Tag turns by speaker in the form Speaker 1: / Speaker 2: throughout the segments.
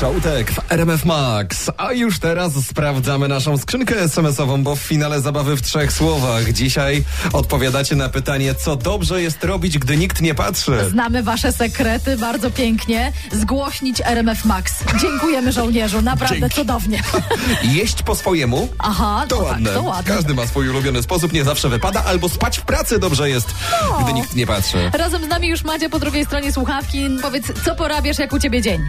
Speaker 1: Szałtek w RMF Max. A już teraz sprawdzamy naszą skrzynkę SMS-ową, bo w finale zabawy w trzech słowach. Dzisiaj odpowiadacie na pytanie, co dobrze jest robić, gdy nikt nie patrzy.
Speaker 2: Znamy wasze sekrety bardzo pięknie. Zgłośnić RMF Max. Dziękujemy żołnierzu, naprawdę
Speaker 1: Dzięki.
Speaker 2: cudownie.
Speaker 1: Jeść po swojemu.
Speaker 2: Aha,
Speaker 1: To
Speaker 2: no
Speaker 1: ładne.
Speaker 2: tak, to ładne.
Speaker 1: Każdy ma swój ulubiony sposób, nie zawsze wypada, albo spać w pracy dobrze jest,
Speaker 2: No.
Speaker 1: gdy nikt nie patrzy.
Speaker 2: Razem z nami już Madzia po drugiej stronie słuchawki. Powiedz, co porabiasz, jak u ciebie dzień?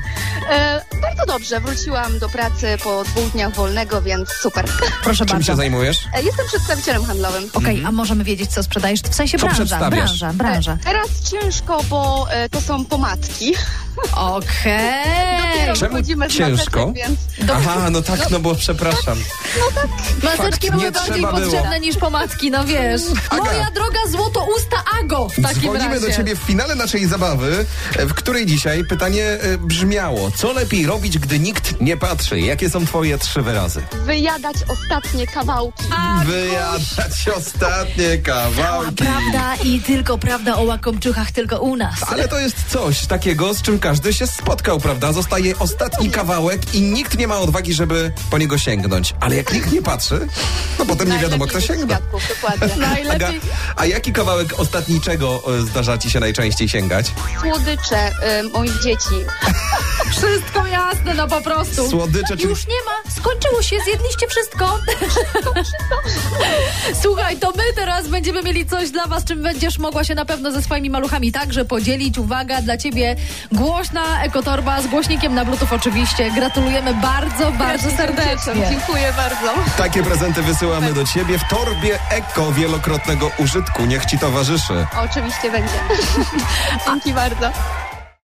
Speaker 3: E, bardzo dobrze, wróciłam do pracy po dwóch dniach wolnego, więc super.
Speaker 2: Proszę
Speaker 1: Czym
Speaker 2: bardzo. tak.
Speaker 1: się zajmujesz?
Speaker 3: E, jestem przedstawicielem handlowym.
Speaker 2: Okej, a możemy wiedzieć, co sprzedajesz? W sensie
Speaker 1: Co
Speaker 2: branża,
Speaker 1: przedstawiasz?
Speaker 2: branża,
Speaker 3: E,
Speaker 2: branża.
Speaker 3: teraz ciężko, bo e, to są pomadki.
Speaker 2: Okej.
Speaker 3: Dopiero
Speaker 1: Czemu
Speaker 3: wychodzimy z
Speaker 1: ciężko?
Speaker 3: maseczek, więc
Speaker 1: Aha, no tak, no bo przepraszam. Fakt,
Speaker 2: Maseczki
Speaker 1: nie
Speaker 2: były bardziej
Speaker 1: trzeba było.
Speaker 2: potrzebne niż pomadki, no wiesz.
Speaker 1: Aga.
Speaker 2: Moja droga złoto usta Ago w takim
Speaker 1: Dzwonimy
Speaker 2: razie.
Speaker 1: do ciebie w finale naszej zabawy, e, w której dzisiaj pytanie e, brzmiało: co lepiej robić, gdy nikt nie patrzy? Jakie są twoje trzy wyrazy?
Speaker 3: wyjadać ostatnie kawałki.
Speaker 1: Wyjadać ostatnie
Speaker 2: Cała
Speaker 1: kawałki.
Speaker 2: prawda i tylko prawda o łakomczuchach tylko u nas.
Speaker 1: Ale to jest coś takiego, z czym każdy się spotkał, prawda? Zostaje ostatni kawałek i nikt nie ma odwagi, żeby po niego sięgnąć. Ale jak nikt nie patrzy, no potem nie wiadomo, kto
Speaker 3: Najlepiej bez
Speaker 1: sięgnie.
Speaker 3: kwiatków, Dokładnie.
Speaker 1: Aga,
Speaker 2: Najlepiej.
Speaker 1: a jaki kawałek ostatniczego e, zdarza ci się najczęściej sięgać?
Speaker 3: Słodycze e, moich dzieci.
Speaker 2: Wszystko jasne, no po prostu.
Speaker 1: Słodycze, czyli
Speaker 2: Już nie ma, skończyło się, zjedliście wszystko. Słuchaj, to my teraz będziemy mieli coś dla was, czym będziesz mogła się na pewno ze swoimi maluchami także podzielić. Uwaga, dla ciebie głośna ekotorba z głośnikiem na bluetooth oczywiście. Gratulujemy bardzo, bardzo
Speaker 3: Dzieciom.
Speaker 2: serdecznie.
Speaker 3: Dziękuję bardzo.
Speaker 1: Takie prezenty wysyłamy do ciebie w torbie eko wielokrotnego użytku. Niech ci towarzyszy.
Speaker 3: Oczywiście będzie. Dzięki bardzo.